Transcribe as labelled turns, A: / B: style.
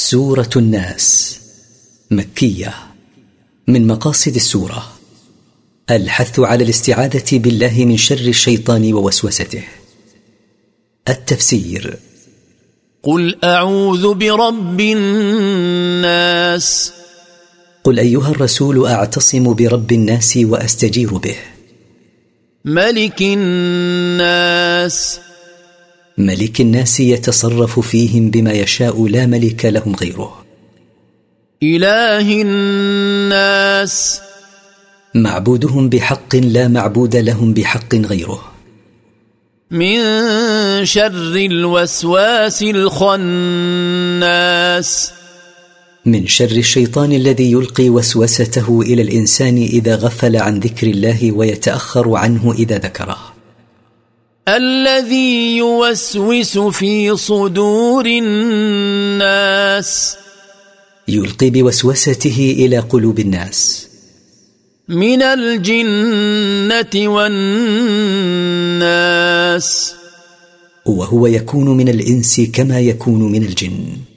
A: سورة الناس مكية من مقاصد السورة الحث على الاستعاذة بالله من شر الشيطان ووسوسته التفسير
B: قل اعوذ برب الناس
A: قل أيها الرسول أعتصم برب الناس وأستجير به
B: ملك الناس
A: ملك الناس يتصرف فيهم بما يشاء لا ملك لهم غيره
B: اله الناس
A: معبودهم بحق لا معبود لهم بحق غيره
B: من شر الوسواس الخناس
A: من شر الشيطان الذي يلقي وسوسته الى الانسان اذا غفل عن ذكر الله ويتاخر عنه اذا ذكره
B: الذي يوسوس في صدور الناس
A: يلقي بوسوسته الى قلوب الناس
B: من الجنه والناس
A: وهو يكون من الانس كما يكون من الجن